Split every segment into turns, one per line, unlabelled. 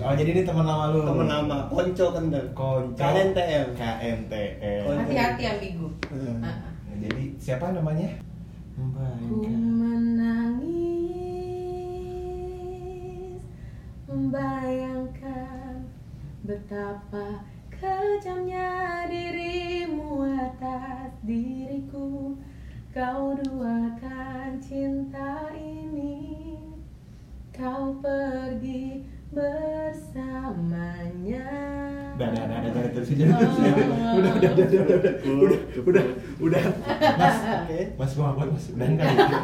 Oh jadi ini teman lama lu.
temen nama Konco Kendal
Konco.
KNTM
KNTM.
Konco.
Hati-hati ambigu.
Hmm.
Ah, ah.
Nah, jadi siapa namanya?
Ku menangis membayangkan betapa kejamnya dirimu atas diriku. Kau duakan cinta ini. Kau pergi bersamanya.
Udah, udah, udah, udah, udah, terus aja,
Oh.
terus aja. udah, udah, udah, udah, udah, udah, udah, udah, mas,
Oke.
mas mau apa mas? Udah enggak gitu.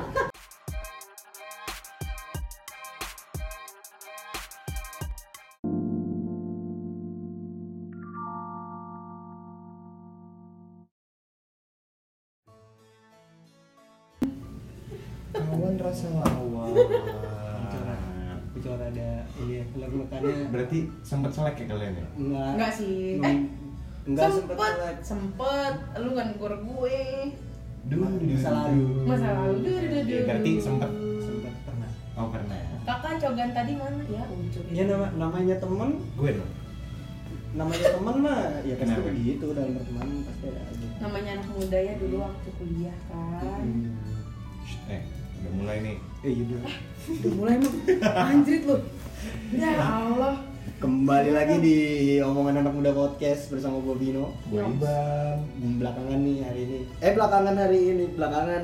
Kawan rasa lawan.
Tapi cuma ada ini ya, lelukannya
Berarti sempat selek ya kalian ya?
enggak
Enggak sih.
Mem-
Eh,
enggak
sempet,
sempet
sempet, Lu kan kur gue.
Masa lalu.
Masa lalu. Du, du, du, du.
Iya, berarti sempat
sempet pernah
Oh pernah.
Kakak cogan tadi mana ya? Ucuk.
ya nama, namanya temen
Gue dong.
namanya temen mah ya pasti
Kenapa?
begitu dalam pertemanan pasti ada aja
Namanya anak muda ya dulu waktu kuliah kan.
Hmm.
Shh, Eh, udah mulai nih.
eh yaudah
Udah mulai lu. Anjrit lu. Ya Allah.
kembali lagi di omongan anak muda podcast bersama Bobino
Gue
Yops.
Ibang.
Hmm, belakangan nih hari ini eh belakangan hari ini belakangan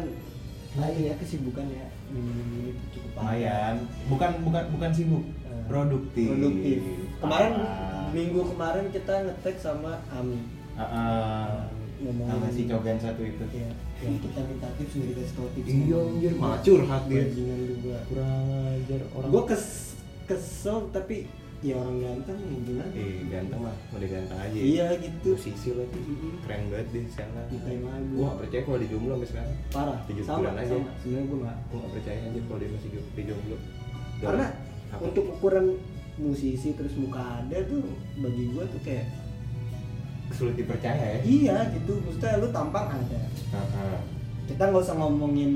lain ya kesibukan ya minggu ini cukup padat.
Lumayan. Bukan bukan bukan sibuk.
Eh,
Produktif.
produktif kemarin
Ah.
minggu kemarin kita ngetek sama Ami
Ah, ah.
Ngomongin-
sama si cogan satu itu.
ya yang kita minta tips dari kasih tau tips
Iya, anjir, malah curhat dia.
Bajingan juga
Kurang ajar orang.
gue kes kesel tapi ya orang ganteng gimana
eh ganteng lah, udah ganteng aja. ya.
iya gitu
Musisi lagi.
Mhm.
Keren banget deh sana.
Mintain lagu.
Gue gak percaya kalau di jomblo sampai sekarang.
parah
Tujuh
sama
bulan aja. ya.
sama sebenarnya gue nggak
Gue gak percaya aja kalau dia masih jom- di jomblo. Udah,
karena
apa?
untuk ukuran musisi terus muka ada tuh bagi gue tuh kayak
sulit dipercaya ya.
iya gitu maksudnya lu tampang ada
Ah, ah.
kita nggak usah ngomongin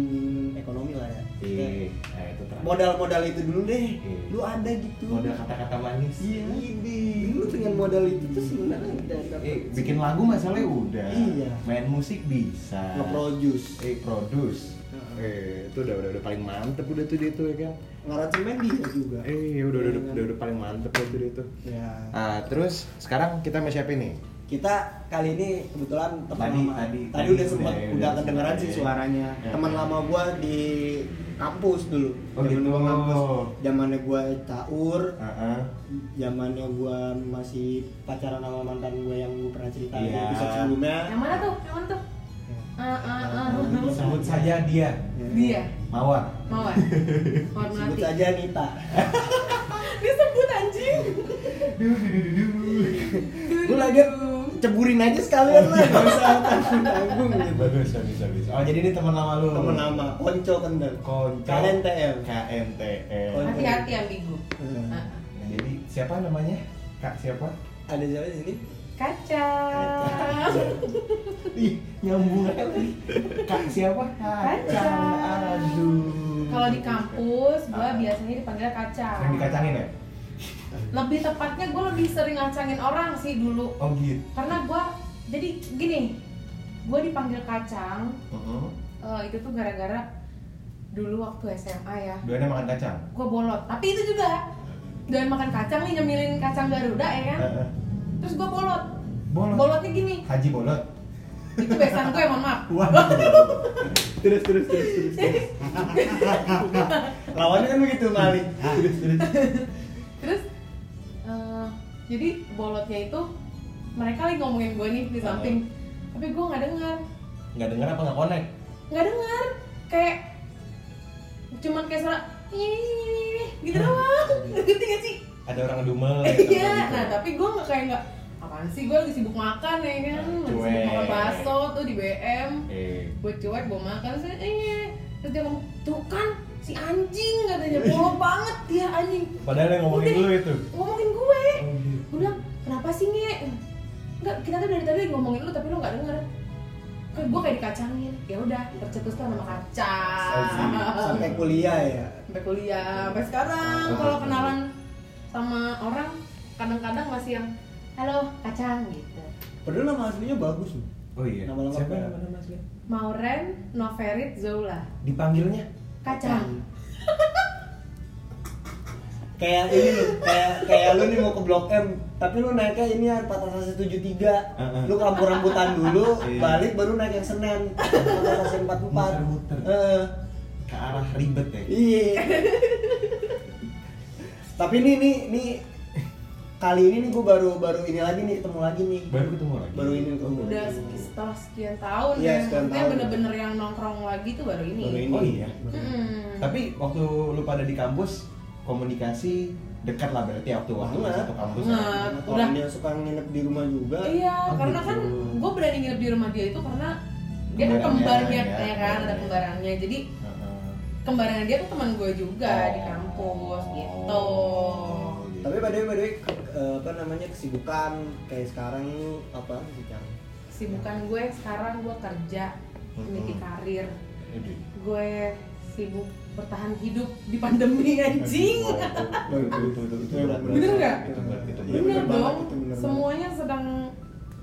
ekonomi lah ya Kayak
Iya, nah, itu terakhir.
modal-modal itu dulu deh
Iya.
lu ada gitu
modal kata-kata manis.
iya ini lu dengan modal itu tuh sebenarnya udah dapet
Eh, bikin lagu masalahnya udah.
Iya.
Main musik bisa.
ngeproduce
Eh, produce.
Heeh.
Eh, itu udah, udah udah paling mantep udah tuh dia tuh ya kan.
ngaracemen dia juga
Eh, udah udah
Iya
udah,
kan?
udah, udah paling mantep udah tuh dia tuh.
ya
Ah, terus sekarang kita mau siapa nih?
kita kali ini kebetulan teman
Tadi-
lama
tadi-
tadi,
tadi
udah
udah-
sempat
udah-
udah,
udah
kedengeran
sempat,
sih
iya.
suaranya
Iya.
teman lama gua di kampus dulu
Oh, gitu.
gua kampus zamannya gua caur
Heeh.
zamannya gua masih pacaran sama mantan gua yang gua pernah cerita di
Iya.
episode sebelumnya
Yang mana tuh? Yang mana tuh? Ah, ah, ah.
Sebut saja dia.
Ya.
Dia.
Mawar.
Mawar. Mawar
sebut
Iya, melati.
saja Nita
Disebut anjing.
Lu lagi ceburin aja sekalian lah gak usah tanggung-tanggung gitu
Bagus, bagus, bagus. Oh, jadi ini teman lama lu.
temen lama Konco Kendal
Konco.
KNTM
KNTL.
Konco.
Hati-hati ambigu.
Hmm.
Ah, ah.
Nah, jadi siapa namanya? Kak siapa?
ada siapa di sini
Kaca.
Ih, nyambung aja lagi. Kak siapa?
Kaca.
Aduh.
Kalau di kampus, gua
Ah.
biasanya dipanggil kaca.
Sering dikacangin ya?
lebih tepatnya gue lebih sering ngacangin orang sih dulu
Oh gitu.
karena gue jadi gini gue dipanggil kacang
Heeh.
Mm-hmm.
eh, itu tuh gara-gara dulu waktu SMA ya
Doainnya makan kacang.
gue bolot tapi itu juga dan makan kacang nih nyemilin kacang Garuda ya kan
Heeh.
terus gue bolot
Bolot.
bolotnya gini
Haji bolot.
itu besan gue mohon maaf
Wah.
terus terus terus terus lawannya kan begitu kali
terus eh, jadi bolotnya itu mereka lagi ngomongin gue nih di samping tapi gue nggak dengar
Enggak denger apa enggak connect?
nggak dengar kayak cuman kayak suara "Ih," gitu doang ngerti gak sih
Ada orang Gitu. dumel.
iya nah tapi gue nggak kayak nggak apaan sih gue lagi sibuk makan ya kan lagi sibuk
Cuek.
makan bakso tuh di BM
Eh,
gue cuek gue makan terus eh terus dia ngomong tuh kan si anjing katanya bolong banget dia anjing
padahal yang ngomongin
Udah.
lu itu.
ngomongin gue
Oh gitu.
gue bilang kenapa sih nge enggak kita tuh dari tadi lagi ngomongin lu tapi lu nggak denger kan gue kayak dikacangin ya udah tercetus tuh nama kacang
Sazi.
sampai kuliah ya
sampai kuliah sampai sekarang kalau kenalan sama orang kadang-kadang masih yang halo kacang gitu
Padahal nama aslinya bagus loh.
Oh iya.
Nama lengkapnya
Siapa
apa?
nama nama aslinya?
Mauren Noverit Zola
Dipanggilnya?
kacang
kayak ini loh, kayak kayak lu nih mau ke Blok M, tapi lu naiknya ini kan Patasasi 73.
Heeh.
Lu rambut-rambutan dulu,
Iya.
balik baru naik yang Senen. Patasasi 44.
Muter-muter.
Heeh.
Ke arah ribet ya.
Iya. tapi ini nih nih kali ini nih gua baru baru ini lagi nih ketemu lagi nih.
Baru ketemu lagi.
Baru ini ketemu.
udah sek- setelah sekian tahun
Iya,
ya
sekian
maksudnya
tahun.
bener-bener yang nongkrong lagi tuh baru ini, ya.
Baru ini.
Oh iya.
Mm-mm.
Tapi waktu lu pada di kampus komunikasi dekat lah berarti ya waktu waktu
Banget.
satu kampus. ya.
Banget.
Nah,
Udah.
Orang dia suka nginep di rumah juga.
Iya,
Oh,
karena
gitu.
kan gue berani nginep di rumah dia itu karena dia kan
Kembarannya,
iya,
kembarnya
ya.
ya kan, ada kembarannya. Jadi
Heeh.
kembarannya dia tuh teman gue juga di
Oh.
kampus gitu.
Oh, gitu.
Tapi by the way, by the way, ke- eh, apa namanya kesibukan kayak sekarang lu apa sih Cang?
Sibukan gue sekarang gue kerja, memiliki
Mm-mm.
karir,
Aduh.
gue sibuk bertahan hidup di pandemi anjing.
Wah, itu- itu- itu- itu- itu berat, berat.
Bener nggak?
Itu berat, itu berat.
bener
Bener
banget,
dong,
itu bener
semuanya sedang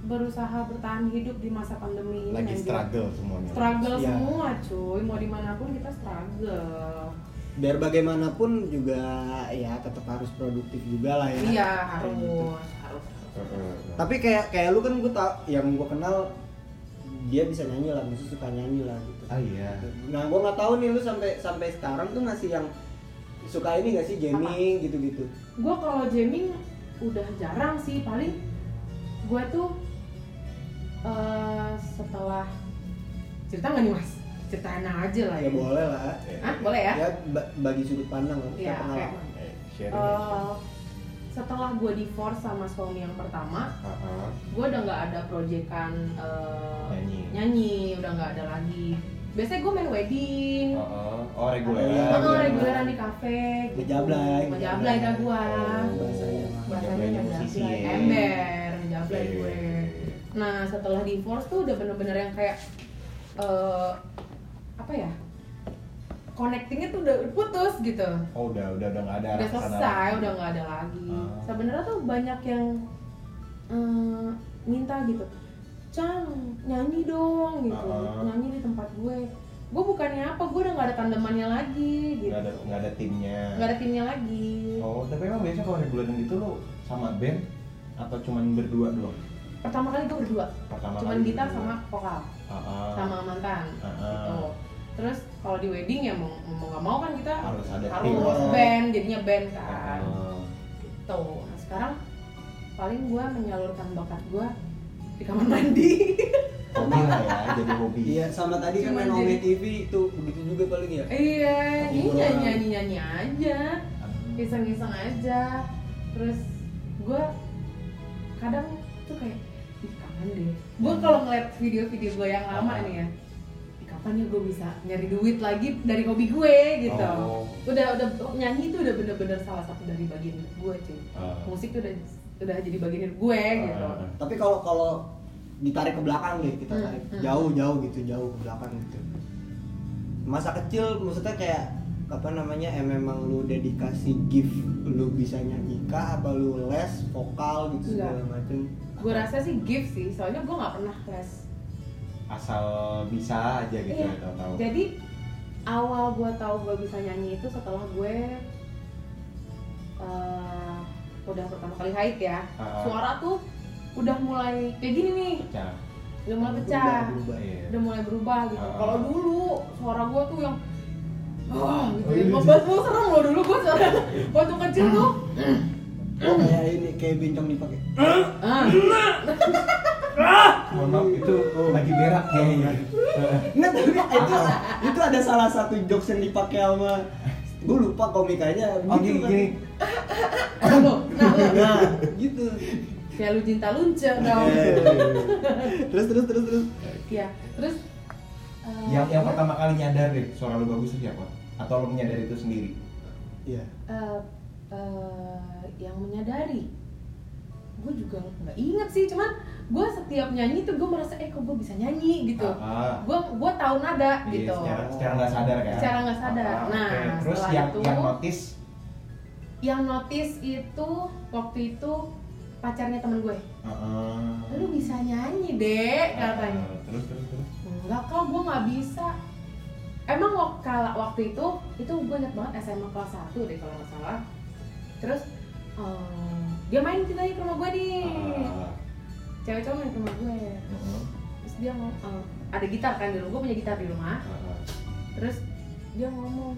berusaha bertahan hidup di masa pandemi ini.
Lagi
anjing.
struggle semuanya.
Struggle
Iya.
semua cuy, mau dimanapun kita struggle.
biar bagaimanapun juga ya tetap harus produktif juga lah ya
Iya
Kayak gitu.
harus harus.
Heeh.
tapi kayak kayak lu kan gue tau yang gue kenal dia bisa nyanyi lah maksudnya suka nyanyi lah gitu
Ah iya.
nah gue nggak tahu nih lu sampai sampai sekarang tuh masih yang suka ini gak sih jamming gitu gitu
Gue kalau jamming udah jarang sih, paling gue tuh eh, setelah cerita nggak nih mas? Ceritain aja lah
ya
ya.
boleh lah
Ah boleh ya?
ya ba- bagi sudut pandang lah
Iya,
kayak pengalaman Ya,
kayak-
Eh, sharing.
Eh, setelah gue divorce sama suami yang pertama,
Heeh.
gue udah nggak ada proyekan eh,
Nyanyi.
nyanyi, udah nggak ada lagi. Biasanya gue main wedding,
Heeh. Oh,
Iya,
reguler.
Emang
iya.
reguleran di kafe gitu.
Ngejablay.
Ngejablay dah gua
Oh.
Bahasanya.
Bahasanya gitu.
Ngejablay musisi Iya.
ngejablay
ya.
Ember, ngejablay gue
Oke.
Nah setelah divorce tuh udah bener-bener yang kayak eh Apa ya Connectingnya tuh udah putus gitu
Oh udah udah udah nggak ada.
Udah
kesana
selesai,
lagi.
udah nggak ada lagi
Ah.
Sebenarnya tuh banyak yang eh, Minta gitu Cang, nyanyi dong gitu
Ah.
Nyanyi di tempat gue Gue bukannya apa, gue udah nggak ada tandemannya lagi gitu
Nggak ada nggak ada timnya.
nggak ada timnya lagi
Oh tapi emang biasanya kalau reguleran gitu lo sama band apa cuman berdua doang?
pertama kali gue berdua
Pertama
cuman
kali gitu.
gitar
berdua.
sama vokal
Heeh.
sama mantan
Ah, ah.
gitu terus kalau di wedding ya mau mau nggak mau kan kita
Harus ada
harus
tim.
band jadinya band kan
Heeh.
gitu nah sekarang paling gue menyalurkan bakat gue di kamar mandi
Hobi lah ya jadi hobi.
iya sama tadi kan main
Cuman
Ome
jadi-
TV itu begitu juga paling ya
iya
Tapi
ini
gua-
nyanyi nyanyi nyanyi aja iseng iseng aja terus gue kadang tuh kayak ih kapan deh
Hmm.
gue kalau ngeliat video-video gue yang lama nih ya "Ih, kapan ya gue bisa nyari duit lagi dari hobi gue gitu
Oh.
udah udah nyanyi itu udah bener-bener salah satu dari bagian hidup gue cuy
Ah.
musik tuh udah udah jadi bagian hidup gue gitu
Ah.
tapi kalau kalau ditarik ke belakang deh kita
Hmm,
tarik
hmm.
jauh jauh gitu jauh ke belakang gitu masa kecil maksudnya kayak apa namanya eh, memang lu dedikasi gift lu bisa nyanyi kah apa lu les vokal gitu
Enggak.
segala macem
gue rasa sih gift sih soalnya gue nggak pernah les
Asal bisa aja gitu
Iya.
ya tahu.
jadi awal gue tahu gue bisa nyanyi itu setelah gue eh, udah pertama kali haid ya
Ah.
suara tuh udah mulai kayak gini nih
Pecah.
udah mulai pecah
Berubah, berubah.
Iya.
udah mulai berubah gitu
Ah.
kalau dulu suara gue tuh yang wah gitu
Oh,
ya
iya,
gue
iya.
serem loh dulu gue suara waktu kecil tuh
Oh, kayak ini kayak bencong dipakai
ah,
Mohon maaf itu lagi berak kayaknya.
Gitu,
nggak tapi itu itu ada salah satu jokes yang dipakai sama gue lupa komikanya
Oh gini
gitu kan.
gini.
nah lo nah lo
nah gitu
kayak lu cinta lunce dong
Iya,
Iya.
terus terus terus terus
ya terus eh,
Yang yang
gua-
pertama kali nyadar deh suara lu bagus itu siapa? Atau lu menyadari itu sendiri?
iya
eh eh, yang menyadari gue juga nggak inget sih cuman gue setiap nyanyi tuh gue merasa eh kok gue bisa nyanyi gitu
Ah, ah.
gue gue tahu nada
Iya,
gitu
secara secara nggak sadar kan
Secara nggak sadar.
Ah,
Nah,
oke. terus
setelah
yang
itu-
yang notice
yang notice itu waktu itu pacarnya temen gue
ah, Heeh.
lu bisa nyanyi dek
Ah.
katanya
Heeh, terus terus terus
enggak kok gue nggak bisa emang wak- kala- waktu itu itu gue inget banget SMA kelas 1 deh kalau nggak salah terus eh, dia main kita ke rumah gue nih
Ah,
cewek cewek main ke rumah gue
heeh,
terus dia ngomong eh, ada gitar kan di rumah gue punya gitar di rumah
heeh.
terus dia ngomong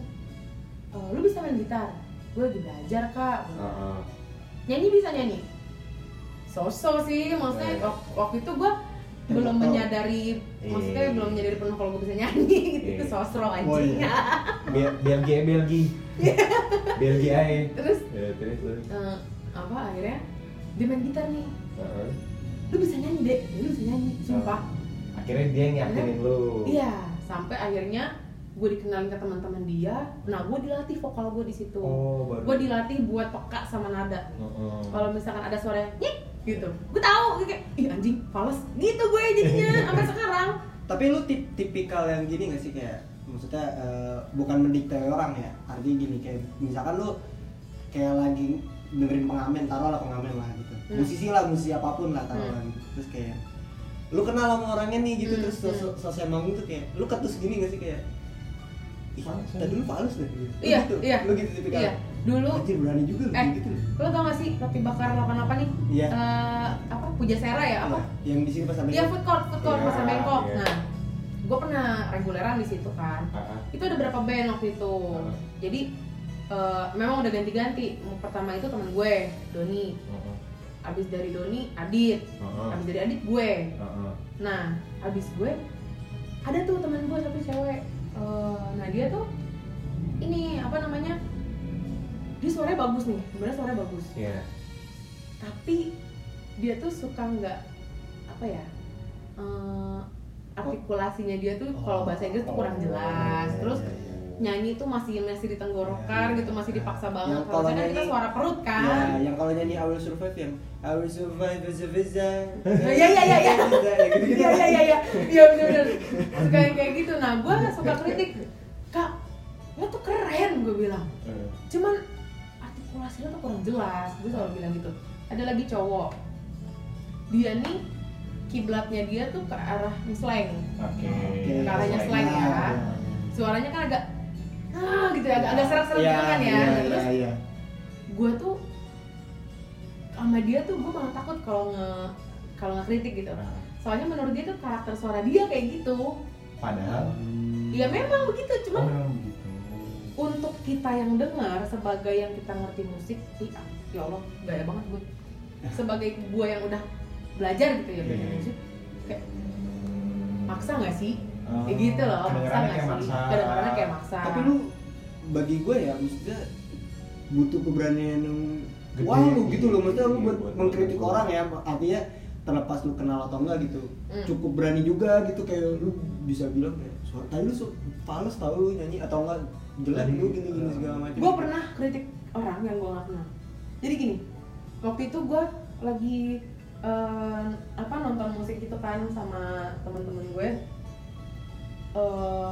"Eh, lu bisa main gitar gue lagi belajar kak Gua
Ah.
bilang,
Heeh.
nyanyi bisa nyanyi so-so sih maksudnya
Iya,
Eh.
wak- waktu itu gue belum
tahu. Iya.
menyadari maksudnya
Eh.
belum menyadari penuh kalau gue bisa nyanyi gitu itu
Eh.
sosro
Oh,
anjing
iya.
Bel Belgi eh, Belgi. Belgi ae.
terus
Ya, terus terus.
eh, apa akhirnya dia main gitar nih
Heeh.
lu bisa nyanyi dek lu bisa nyanyi sumpah
Akhirnya dia yang yakinin lu.
iya sampai akhirnya gue dikenalin ke teman-teman dia nah gue dilatih vokal gue di situ
Oh, baru. Ah,
gue dilatih buat peka sama nada
Heeh.
kalau misalkan ada suara nyik gitu gue tahu gue kayak ih anjing fals gitu gue jadinya sampai sekarang
Tapi lu tip tipikal yang gini gak sih kayak maksudnya eh, bukan mendikte orang ya. Artinya gini kayak misalkan lu kayak lagi dengerin pengamen taruh lah pengamen lah gitu.
Hmm.
Musisi lah musisi apapun lah taruh lah gitu. Terus kayak lu kenal sama orangnya nih gitu
Hmm,
terus
hmm.
sel- selesai manggung tuh kayak lu ketus gini gak sih kayak Ih,
Palsu.
tadi lu palsu deh gitu. Lu
Iya,
gitu,
iya.
Lu gitu tipikal.
iya dulu
Anjir berani juga lu
eh
kayak gitu.
lo tau gak sih roti bakar 88 nih
Iya.
Eh, apa puja sera ya apa
Yang di sini pas sampai
Iya food court, food court
Iya,
pasar Bangkok.
iya.
Nah, gue pernah reguleran di situ kan.
Heeh.
Itu ada berapa band waktu itu.
Heeh.
Jadi eh, memang udah ganti-ganti. Pertama itu temen gue, Doni.
Heeh.
Abis dari Doni, Adit.
Heeh.
Abis dari Adit gue.
Heeh.
Nah, abis gue ada tuh temen gue satu cewek. Eh, nah dia tuh ini apa namanya? Dia suaranya bagus nih. Sebenarnya suaranya bagus.
Iya.
Tapi dia tuh suka nggak apa ya? eh, artikulasinya dia tuh kalau bahasa Inggris tuh
Oh,
kurang jelas.
iya,
Terus nyanyi tuh masih masih di tenggorokan gitu, masih dipaksa
Yang
banget.
Iya, kalau
Harusnya kan kita
nyanyi-
suara perut
Ya,
kan.
yang kalau nyanyi I Will Survive yang I Will Survive as a visa.
Ya, ya, ya, ya.
gitu gitu.
Iya iya iya iya. Iya benar-benar. Suka yang kayak gitu. Nah, gue suka kritik. Kak, lo tuh keren gue bilang.
Heeh.
Cuman artikulasinya tuh kurang jelas. Gue selalu bilang gitu. Ada lagi cowok. Dia nih kiblatnya dia tuh ke arah slang.
Oke.
Oke. Iya.
Caranya slang ya. Suaranya kan agak ah gitu ya, agak, agak serak-serak
Iya,
gitu kan ya.
Iya,
Nah,
iya,
terus
iya.
gue tuh sama dia tuh gue malah takut kalau nge kalau ngekritik gitu.
Heeh.
Soalnya menurut dia tuh karakter suara dia kayak gitu.
Padahal
iya.
Ya memang begitu,
Oh,
cuman
memang begitu.
untuk kita yang dengar sebagai yang kita ngerti musik, ih, ah, ya Allah, gaya banget gue. Sebagai gue yang udah belajar gitu ya belajar
Ya. Iya.
musik, kayak maksa nggak sih?
Oh,
Kayak gitu loh, maksa
kedengarannya
nggak
kayak
sih?
maksa.
Kadang-kadang kayak maksa.
Tapi lu bagi gue ya maksudnya butuh keberanian yang
Gede.
wah lu gitu loh maksudnya lu
Iya,
buat
buat-
mengkritik
buat-
orang ya artinya terlepas lu kenal atau enggak gitu
Hmm.
cukup berani juga gitu kayak lu bisa bilang kayak suara tadi lu su- fals tau lu nyanyi atau enggak jelek
Tadi,
lu gini gini
eh,
segala macam
gue pernah kritik orang yang gue nggak kenal. Jadi gini, waktu itu gue lagi eh, apa nonton musik gitu kan sama temen-temen gue. Eh,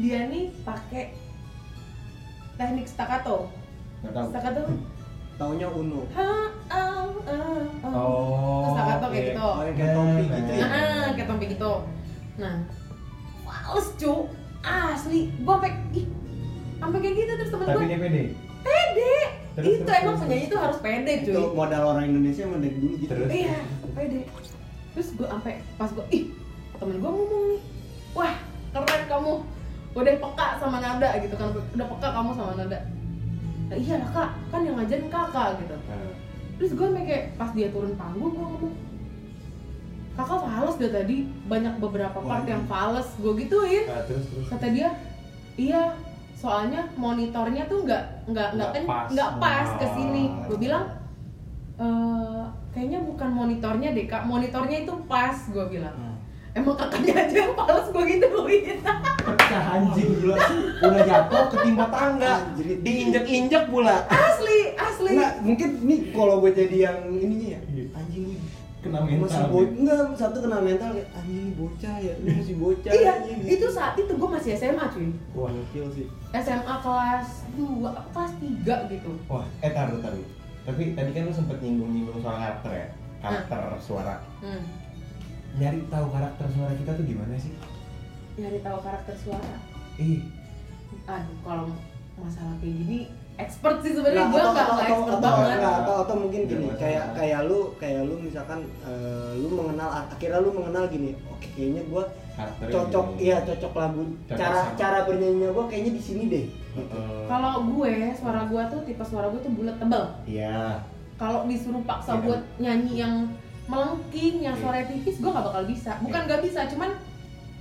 dia nih pakai teknik staccato.
Nggak tahu.
Staccato.
taunya uno
Ha, ah, ah, ah.
Oh.
Terus staccato kayak
iya.
gitu.
Oh, yang kayak topi gitu ya.
Nah, ah, kayak topi gitu. Nah, fals cu, asli. Gue sampai ih, sampai kayak gitu terus temen
Tapi
gue
dia pede.
pede
Terus,
itu
terus,
emang
terus,
penyanyi itu harus pede cuy
itu modal orang Indonesia emang dari dulu gitu
Terus?
iya pede terus gue sampai pas gue ih temen gue ngomong nih wah keren kamu udah peka sama nada gitu kan udah peka kamu sama nada "Lah iya lah kak kan yang ngajarin kakak gitu
Nah,
terus gue sampai kayak pas dia turun panggung gue ngomong kakak fals deh tadi banyak beberapa part
Wah.
yang fals gue gituin
nah, terus terus.
kata dia iya soalnya monitornya tuh nggak nggak
Nggak
nggak ken-
pas.
nggak pas ke sini
Ah.
gue bilang "Eh, kayaknya bukan monitornya deh kak monitornya itu pas gue bilang
Nah.
emang kakaknya aja yang gitu, males gue gituin
Pecah anjing gila. Udah jatuh ketimpa tangga.
Anjir, diinjek-injek pula.
asli asli
Iya.
Nah, mungkin nih kalau gue jadi yang ininya ya. Anjing nih,
kena
masih
mental
bo- enggak satu kena mental kayak anjing ini bocah ya ini masih bocah
iya
anjing."
itu saat itu gue masih SMA cuy
wah
gokil sih
SMA kelas 2 apa kelas 3 gitu
wah eh taruh taruh tapi tadi kan lu sempet nyinggung nyinggung soal karakter ya karakter suara
hmm.
nyari tahu karakter suara kita tuh gimana sih
nyari tahu karakter suara
ih
aduh kalau masalah kayak gini expert sih sebenarnya
Nah,
gue
atau-
nggak
atau-
nggak
atau-
expert
atau-
banget
nggak, atau atau mungkin
Nggak
gini
masalah.
kayak kayak lu kayak lu misalkan eh, lu mengenal akhirnya lu mengenal gini oke kayaknya gua
karakter
cocok iya cocok lagu
Cocok
cara
sama.
cara bernyanyinya gua kayaknya di sini deh gitu.
kalau gue suara gue tuh tipe suara gue tuh bulat tebel
iya
kalau disuruh paksa
Iya.
buat nyanyi yang melengking yang
Iya.
suaranya tipis gue gak bakal bisa bukan
Iya.
gak bisa cuman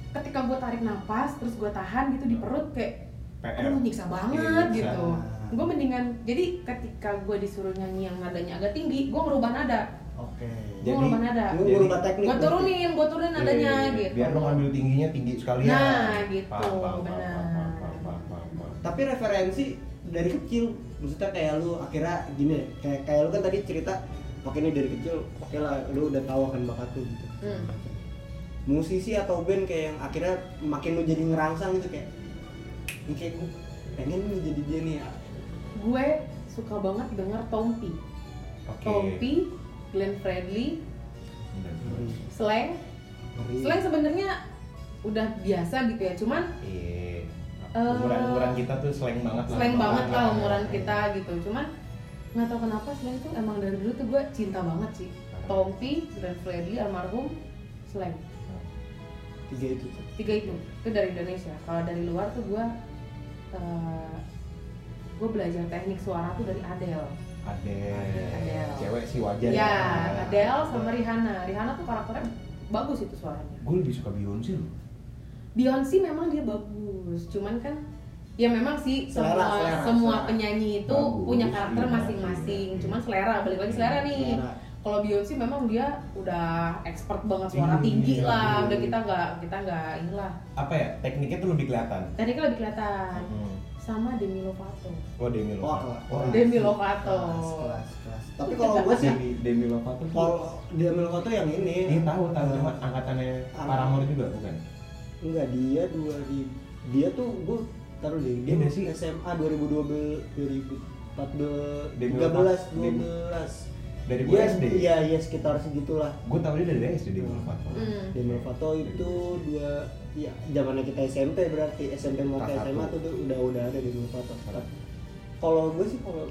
ketika gue tarik nafas terus gue tahan gitu di perut kayak
PR
aduh nyiksa
Iya,
banget
nyiksa.
gitu gue mendingan jadi ketika gue disuruh nyanyi yang nadanya agak tinggi gue ngerubah nada
oke
gue
Jadi-
ngerubah nada
lu
Jadi-
ngubah Nah, teknik
gue turunin gue turunin nadanya
Iya, iya, iya.
gitu
biar lo ngambil tingginya tinggi sekalian
Nah, gitu,
Paham, paham, paham,
benar.
paham, paham, paham, paham, paham.
tapi referensi dari kecil maksudnya kayak lu akhirnya gini ya, kayak kayak lu kan tadi cerita oke ini dari kecil oke lah lu udah tahu akan bakat lu gitu
Hmm.
musisi atau band kayak yang akhirnya makin lu jadi ngerangsang gitu kayak ini kayak gue pengen nih jadi dia nih ya
gue suka banget denger Tompi
oke
Tompi Glenn Fredly
Benar, benar.
Hmm.
Slang
Ngeri.
Slang sebenarnya udah biasa gitu ya cuman
Iya.
Eh,
Umuran umuran kita tuh slang banget lah.
slang banget
Orang-
lah umuran
nah.
kita gitu cuman nggak tahu kenapa slang tuh emang dari dulu tuh gue cinta banget sih Tompi dan Freddy almarhum slang
tiga itu tuh.
tiga itu itu dari Indonesia kalau dari luar tuh gue eh, gue belajar teknik suara tuh dari Adele
Adele,
Adele.
cewek sih wajar.
ya Adele sama Rihanna Rihanna tuh karakternya bagus itu suaranya
Gue lebih suka Beyonce loh.
Beyonce memang dia bagus cuman kan ya memang sih semua
Selera, selera,
semua
selera.
penyanyi itu
Bagus,
punya karakter
iya,
masing-masing
iya.
cuman selera balik lagi selera nih
Selera.
kalau Beyonce memang dia udah expert banget suara
Iya,
tinggi
iya,
lah
iya.
udah kita nggak kita nggak inilah
Apa ya? Tekniknya tuh lebih kelihatan.
tadi kan lebih kelihatan
Hmm.
sama Demi Lovato
Oh iya. Demi
Wah,
Lovato.
wah.
Demi Lovato
kelas kelas kelas tapi kalau gue sih
Demi Demi Lovato tuh.
kalau dia Melko tuh yang
Dia
ini
Iya, tahu tahu cuma angkatannya Paramore juga bukan?
enggak dia dua ribu dia tuh gue taruh deh
Iya
dia
nggak sih?
sih SMA 2012 2014
Demi
13
Lovato.
12
Dari gue
Iya,
SD.
iya, iya sekitar segitulah.
Gue tahu dia dari SD Demi Lovato.
Hmm.
Demi Lovato itu dua ya zamannya kita SMP berarti SMP mau ke
Kelas
SMA
satu.
tuh, tuh udah udah ada Demi Lovato.
Kelas.
Kalau gue sih kalau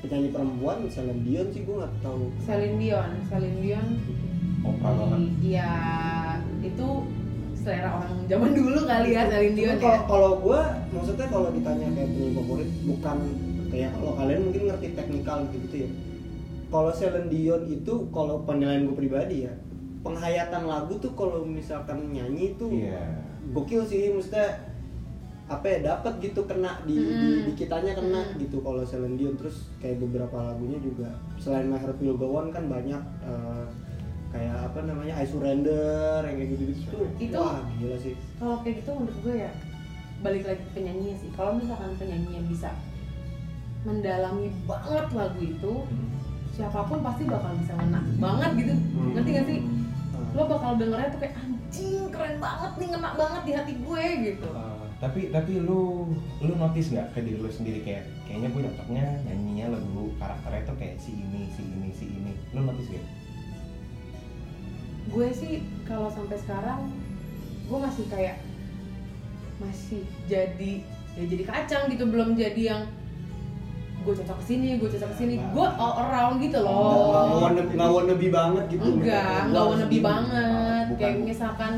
penyanyi perempuan misalnya Dion sih gue nggak tahu.
Celine Dion Celine Dion
Opera banget.
iya itu selera orang zaman dulu kali ya Celine Dion
Cuma
ya
Kalau kalau gue maksudnya kalau ditanya kayak penyanyi favorit bukan kayak kalau kalian mungkin ngerti teknikal gitu, gitu ya. Kalau Celine Dion itu kalau penilaian gue pribadi ya penghayatan lagu tuh kalau misalkan nyanyi tuh
Iya.
gokil sih maksudnya apa ya dapat gitu kena di, di,
Mm.
di kitanya kena
Mm.
gitu kalau Celine Dion terus kayak beberapa lagunya juga selain My Heart Will Go On kan banyak eh, kayak apa namanya I Surrender yang kayak gitu-gitu tuh
Itu-
wah gila sih
kalau kayak gitu menurut gue ya balik lagi ke penyanyinya sih kalau misalkan penyanyi yang bisa mendalami banget lagu itu siapapun pasti bakal bisa ngena banget gitu
Hmm.
ngerti gak sih
Ah.
lo bakal dengernya tuh kayak anjing keren banget nih ngena banget di hati gue gitu
Uh, tapi tapi lu lu notice nggak ke diri lu sendiri kayak kayaknya gue cocoknya nyanyinya lagu karakternya tuh kayak si ini si ini si ini lu notice gak?
gue sih kalau sampai sekarang gue masih kayak masih jadi ya jadi kacang gitu belum jadi yang gue cocok kesini gue cocok kesini gue all around gitu
Nggak- nggak
loh
wanna- nggak wannabe banget gitu
enggak
Nggak
enggak
harus
wannabe
gini.
banget
Bukan.
kayak misalkan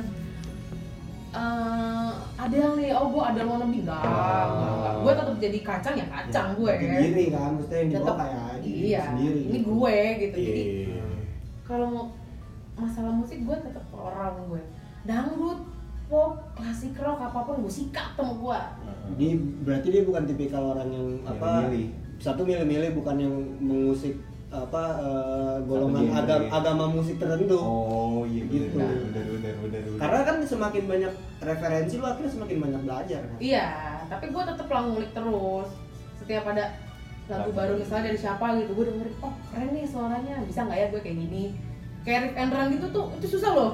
eh ada yang nih oh gue ada wannabe enggak enggak, enggak. gue tetap jadi kacang ya kacang
Ya,
gue
tapi diri kan maksudnya yang dibawa
Tetep-
kayak diri
iya
sendiri
ini
gitu.
gue gitu jadi
Iya.
kalau mau masalah musik gue tetap orang gue dangdut pop klasik rock apapun gue sikat sama gue
Ini berarti dia bukan tipikal orang yang apa
Milih-milih.
satu milih-milih bukan yang mengusik apa eh, golongan
genre.
agama agama musik tertentu.
Oh iya gitu.
Gitu.
Bener, bener, bener, bener, bener.
Karena kan semakin banyak referensi lu akhirnya semakin banyak belajar kan.
iya tapi gue tetap lah ngulik terus setiap ada lagu
Lagu.
baru misalnya dari siapa gitu gue dengerin oh keren nih suaranya bisa nggak ya gue kayak gini kayak rip and run gitu tuh itu susah loh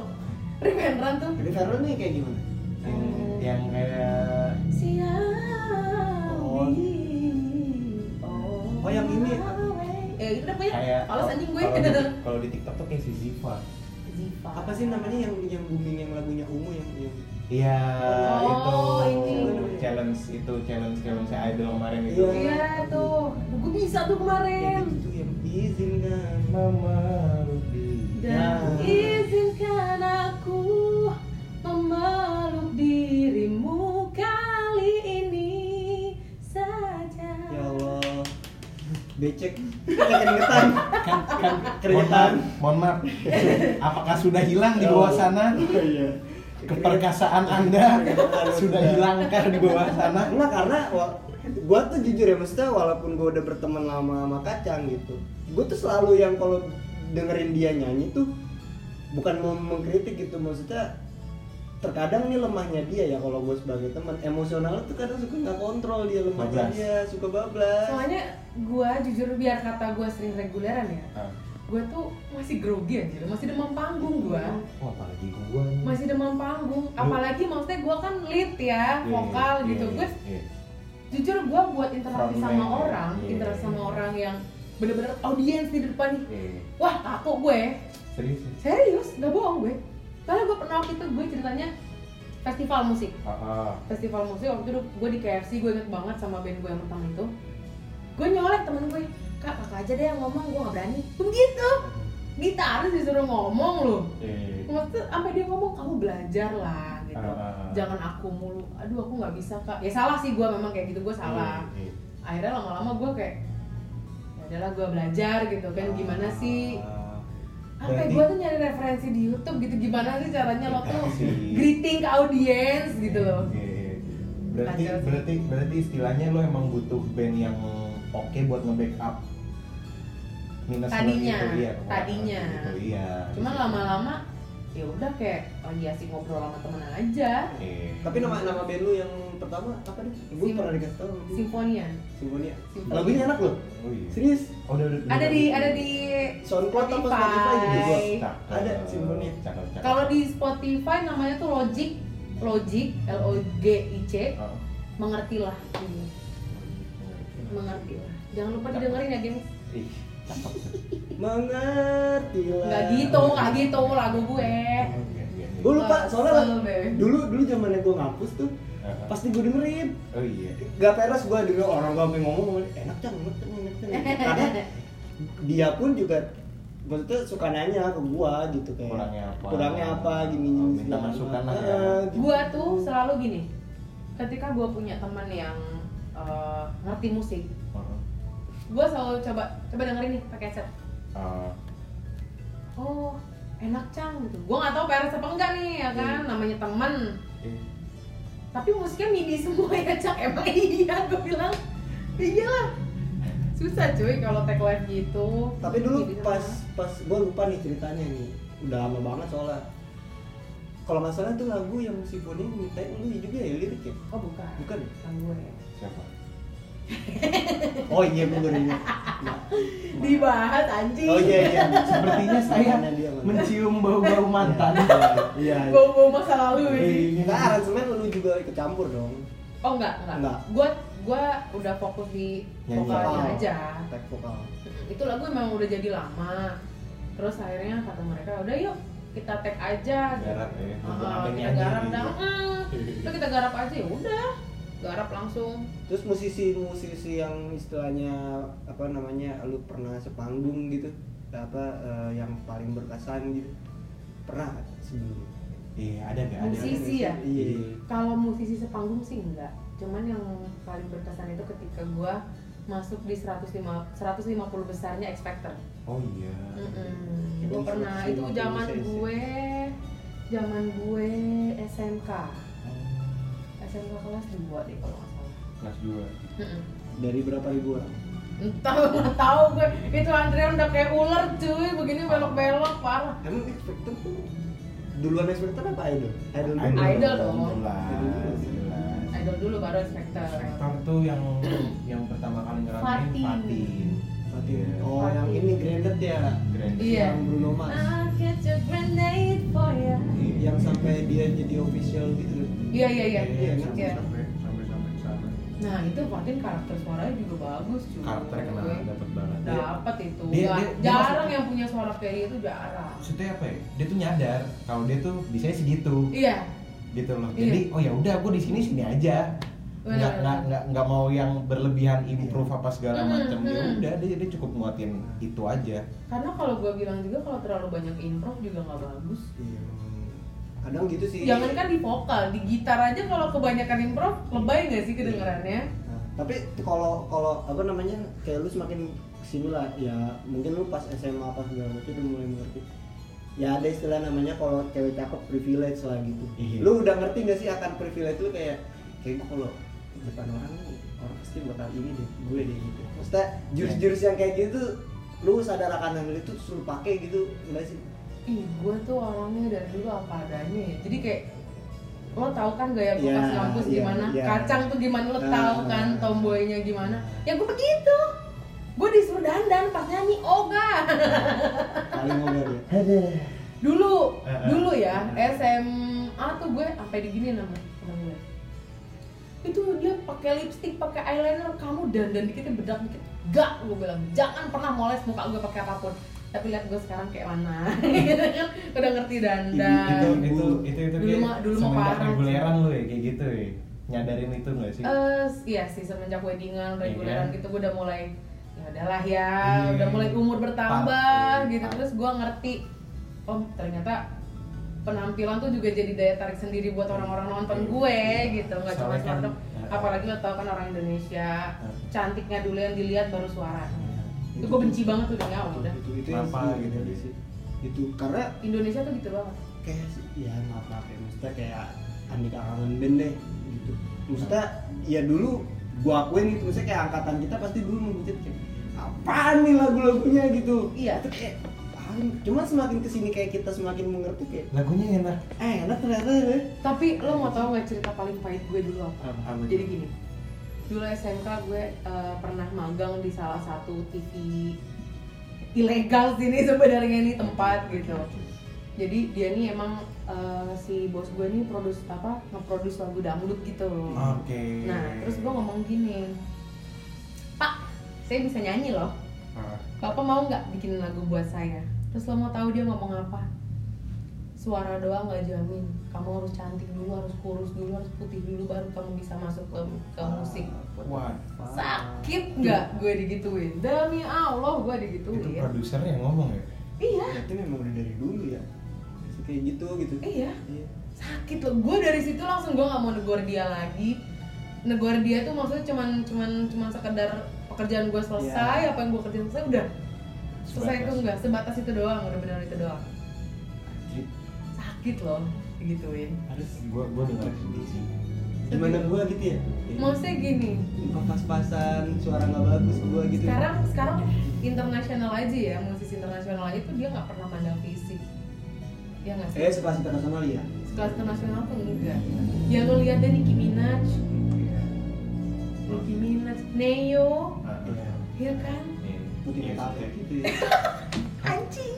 rip and run tuh
Jadi Farel nih kayak gimana?
yang, yang kayak
siang
Oh. Oh, yang ini.
eh itu namanya
kayak
Males anjing gue
kalau di- kalau di TikTok tuh kayak si Ziva
Ziva
Apa sih namanya yang yang booming yang lagunya ungu yang, yang
Iya,
Oh,
itu
ini.
challenge itu challenge challenge idol kemarin itu.
Iya.
iya tuh gue bisa tuh
yang
kemarin
itu yang izinkan
Memeluk
Dan
Ya.
izinkan aku memeluk dirimu kali ini saja.
Ya Allah. Becek. Kita keringetan.
Kan kan mohon
Keringetan.
maaf, mohon maaf. Apakah sudah hilang di bawah sana?
Oh, Iya.
Keperkasaan Anda sudah hilangkah di bawah sana?
Enggak karena wa- gua tuh jujur ya maksudnya walaupun gua udah berteman lama sama kacang gitu. Gua tuh selalu yang kalau dengerin dia nyanyi tuh bukan mau mengkritik gitu maksudnya terkadang nih lemahnya dia ya kalau gue sebagai teman emosionalnya tuh kadang suka nggak kontrol dia lemahnya
Bablas.
dia suka bablas
Soalnya gue jujur biar kata gue sering reguleran ya,
Ah,
gue tuh masih grogi anjir, masih demam panggung gue.
Wah, Oh, apalagi gua nih.
Masih demam panggung, apalagi maksudnya gue kan lead ya,
Iya,
vokal
iya,
gitu.
iya,
Gue
iya.
jujur gue buat interaksi
Frontman,
sama
ya.
orang,
Iya.
interaksi sama orang yang bener-bener audiens di depan nih.
Iya.
Wah takut gue,
Serius?
Serius, gak bohong gue. Soalnya gue pernah waktu itu gue ceritanya festival musik.
Ah, ah.
Festival musik waktu itu gue di KFC, gue inget banget sama band gue yang utang itu. Gue nyolek temen gue, kak kakak aja deh yang ngomong, gue gak berani. Begitu, ditaruh disuruh ngomong loh.
Iya.
Maksudnya sampai dia ngomong kamu belajar lah gitu.
Ah, ah, ah.
Jangan aku mulu, aduh aku nggak bisa kak. Ya salah sih gue memang kayak gitu, gue salah.
Iya, iya.
Akhirnya lama-lama gue kayak, ya adalah gue belajar gitu kan gimana sih ya,
Ah,
Sampai
berarti-
gue tuh nyari referensi di YouTube gitu gimana sih caranya lo tuh
Si-
greeting ke audiens gitu loh.
Iya, iya. Berarti
Kacau sih.
berarti berarti istilahnya lo emang butuh band yang oke buat nge-backup minus lo
Tadinya,
itu, iya, kekurangan
tadinya.
itu, iya.
Cuman lama-lama ya udah kayak lagi asik ngobrol sama temen aja.
Iya.
tapi nama nama band lu yang pertama apa nih gue
Sim-
pernah dikasih tau
Simfonia.
Simfonia
Simfonia.
lagunya enak loh
Oh iya.
serius
Oh, udah- udah-
Ada
udah-
di
udah.
ada di
SoundCloud apa Spotify gitu gua.
Spotify.
Cakep,
Ada simfonnya.
cakep, cakep.
Kalau di Spotify namanya tuh Logic Logic L O G I C
Oh.
mengertilah ini. Mengertilah. Jangan lupa didengerin ya, gengs.
Ih, cakep.
mengertilah
Enggak gitu, enggak gitu lagu gue.
Iya, iya, iya.
gue lupa soalnya
Kesel, Beb.
dulu dulu zamannya gue ngapus tuh
Ah, ah.
pasti gue dengerin
Oh iya.
gak peres gue denger orang gue sampe ngomong gua, enak kan enak kan enak kan karena dia pun juga maksudnya suka nanya ke gue gitu kayak
Kurangnya apa?
kurangnya apa gini
Oh,
gini
minta
segala
masukan lah
macam.
ya.
Ah, gitu.
gua tuh selalu gini ketika gua punya teman yang eh, ngerti musik
Heeh.
gua selalu coba coba dengerin nih pakai headset
Ah,
oh enak cang gitu gua nggak tahu peres apa enggak nih ya kan namanya teman
iya.
tapi musiknya midi semua ya cang emang iya gua bilang iyalah susah cuy kalau tag live gitu
tapi dulu
Midi semua.
pas pas gue lupa nih ceritanya nih udah lama banget soalnya kalau nggak salah tuh lagu yang si Boni minta lu juga ya lirik ya
oh bukan
bukan ya?
Bukan gue
Siapa?
oh iya gue baru ingat. Nah.
dibahas anjing
oh iya iya
Sepertinya saya
Mana dia, mana?
mencium bau-bau mantan.
iya iya.
bau-bau masa lalu ya sih.
Nah, aransemen lu juga ikut campur dong.
Oh enggak, enggak.
Enggak.
Gua gua udah fokus di
Nyanyi.
vokalnya
Oh.
Iya, aja.
Tek vokal.
Itu lagu memang udah jadi lama. Terus akhirnya kata mereka, "Udah yuk, kita tag aja."
Garap ya,
Ah,
untuk apa
kita
nyanyi
garap
gitu.
dah. Mm. Udah kita garap aja ya udah. Garap langsung.
Terus musisi-musisi yang istilahnya apa namanya lu pernah sepanggung gitu apa eh, yang paling berkesan gitu pernah nggak sebelumnya
Iya, ada gak? Ada.
Musisi. ya?
iya
Kalau musisi sepanggung sih enggak. Cuman yang paling berkesan itu ketika gua masuk di 150 150 besarnya X Factor.
Oh iya.
Mm-mm.
Cuman
Gue pernah itu
150
zaman
cc.
gue zaman gue SMK. SMK kelas 2 deh kalau nggak salah.
Kelas 2.
Mm-mm.
dari berapa ribu orang
Entah nggak tahu gue itu antrian udah kayak ular cuy begini belok-belok parah.
emang expector tuh duluan expector apa idol idol dulu.
Idol dong.
Jelas, jelas.
Idol dulu baru inspektor.
Sektor tuh yang yang pertama kali ngeramein
Fatin.
Fatin.
Fatin.
Iya.
oh yang ini grandet ya
Grand.
Iya.
yang Bruno Mars
Akhir grenade for ya
Iya.
yang sampai dia jadi official gitu loh.
iya iya iya
Iya, kan?
Iya.
sampai sampai sampai ke sana
nah itu Martin karakter suaranya juga bagus cuy
karakternya kena
Gue
dapet banget
dapet itu
Dia-
Nggak-
dia- dia
jarang
masuk-
yang punya suara kayak dia itu jarang
maksudnya apa ya dia tuh nyadar kalau dia tuh bisanya segitu
iya
gitu loh
Iya.
jadi oh ya udah gue di sini sini aja nggak
Benar,
nggak
benar.
nggak nggak mau yang
Iya.
berlebihan improve apa segala
Mm,
macam ya
mm.
udah dia dia cukup nguatin itu aja
karena kalau gue bilang juga kalau terlalu banyak improv juga nggak bagus
Iya. Kadang gitu sih.
Iya.
jangan kan di vokal di gitar aja kalau kebanyakan improv lebay nggak sih kedengerannya
Nah, tapi kalau kalau apa namanya kayak lu semakin kesini lah ya mungkin lu pas SMA apa segala macam udah mulai mengerti ya ada istilah namanya kalau cewek cakep privilege lah gitu
Iya.
lu udah ngerti gak sih akan privilege lu kayak kayak gua kalau depan orang nih orang pasti bakal ini deh gue deh gitu maksudnya jurus-jurus yang kayak gitu lu sadar akan hal itu terus lu pakai gitu enggak sih
ih gue tuh orangnya dari dulu apa adanya ya jadi kayak lo tau kan gaya gue
Iya,
pas kampus
iya,
gimana
iya.
kacang tuh gimana lo
Ah.
tau kan tomboynya gimana ya gue begitu gue disuruh dandan pas nyanyi ogah
paling ngobrol ya ada
dulu
Eh, eh.
dulu ya
Eh, eh.
SMA tuh gue sampai digini nama temen gue itu dia pakai lipstick pakai eyeliner kamu dandan dikit bedak dikit gak gue bilang jangan pernah moles muka gue pakai apapun tapi lihat gue sekarang kayak mana Gitu kan, udah ngerti
itu
dandan
itu itu itu
Nah, Dulu mah- dulu mah
semenjak
parah.
reguleran lu ya kayak gitu ya nyadarin itu nggak sih
eh iya sih semenjak weddingan reguleran
Iya.
gitu gue udah mulai ya udahlah ya
Iya.
udah mulai umur bertambah
Part- iya,
gitu
part.
terus gue ngerti oh ternyata penampilan tuh juga jadi daya tarik sendiri buat orang-orang nonton gue gitu nggak cuma
Iya, Soalnya kan- Iya.
suara apalagi lo tau kan orang Indonesia cantiknya dulu yang dilihat baru suaranya itu gue benci banget udah ya udah
itu itu
Kenapa
yang
gitu?
gitu sih itu karena
Indonesia tuh gitu banget
kayak ya maaf maaf ya maksudnya kayak Andika Kangen Band deh gitu maksudnya ya dulu gua akuin gitu maksudnya kayak angkatan kita pasti dulu mengutip kayak apaan nih lagu-lagunya gitu
Iya.
itu kayak apaan? cuma semakin kesini kayak kita semakin mengerti kayak
lagunya enak
eh enak ternyata ya
tapi lo mau tau nggak cerita paling pahit gue dulu apa
Apa tuh?
jadi gini dulu SMK gue eh, pernah magang di salah satu TV ilegal sini sebenarnya ini tempat gitu jadi dia nih emang eh, si bos gue nih produs apa ngeproduce lagu dangdut gitu
oke
nah terus gue ngomong gini pak saya bisa nyanyi loh
Ah,
Bapak mau nggak bikin lagu buat saya? Terus lo mau tahu dia ngomong apa? Suara doang nggak jamin. Kamu harus cantik dulu, harus kurus dulu, harus putih dulu, baru kamu bisa masuk ke, ke musik.
wah
Sakit nggak gue digituin? Demi Allah gue
itu
digituin.
produser yang ngomong ya
Iya,
itu memang udah dari dulu ya kayak gitu gitu
iya. Sakit loh. Gue dari situ langsung gue nggak mau negor dia lagi. Negor dia tuh maksudnya cuman cuman cuman sekedar pekerjaan gue selesai, apa yang gue kerjain selesai udah. Selesai itu
Iya. Sebatas.
enggak, sebatas itu doang, udah benar itu doang.
Anjir,
sakit loh gituin
harus
gue gue dengar sedih sih
gimana gua gitu ya
maksudnya gini
pas-pasan suara nggak bagus gua gitu
sekarang sekarang internasional aja ya musisi internasional aja tuh dia nggak pernah pandang fisik ya nggak
eh
sih
sekelas internasional ya
sekelas internasional tuh enggak ya lo lihat deh Nicki Minaj Nicki Minaj Neo
Iya. Ah,
Iya.
ya kan
iya. Iya,
putih
iya.
kapek gitu ya
anjing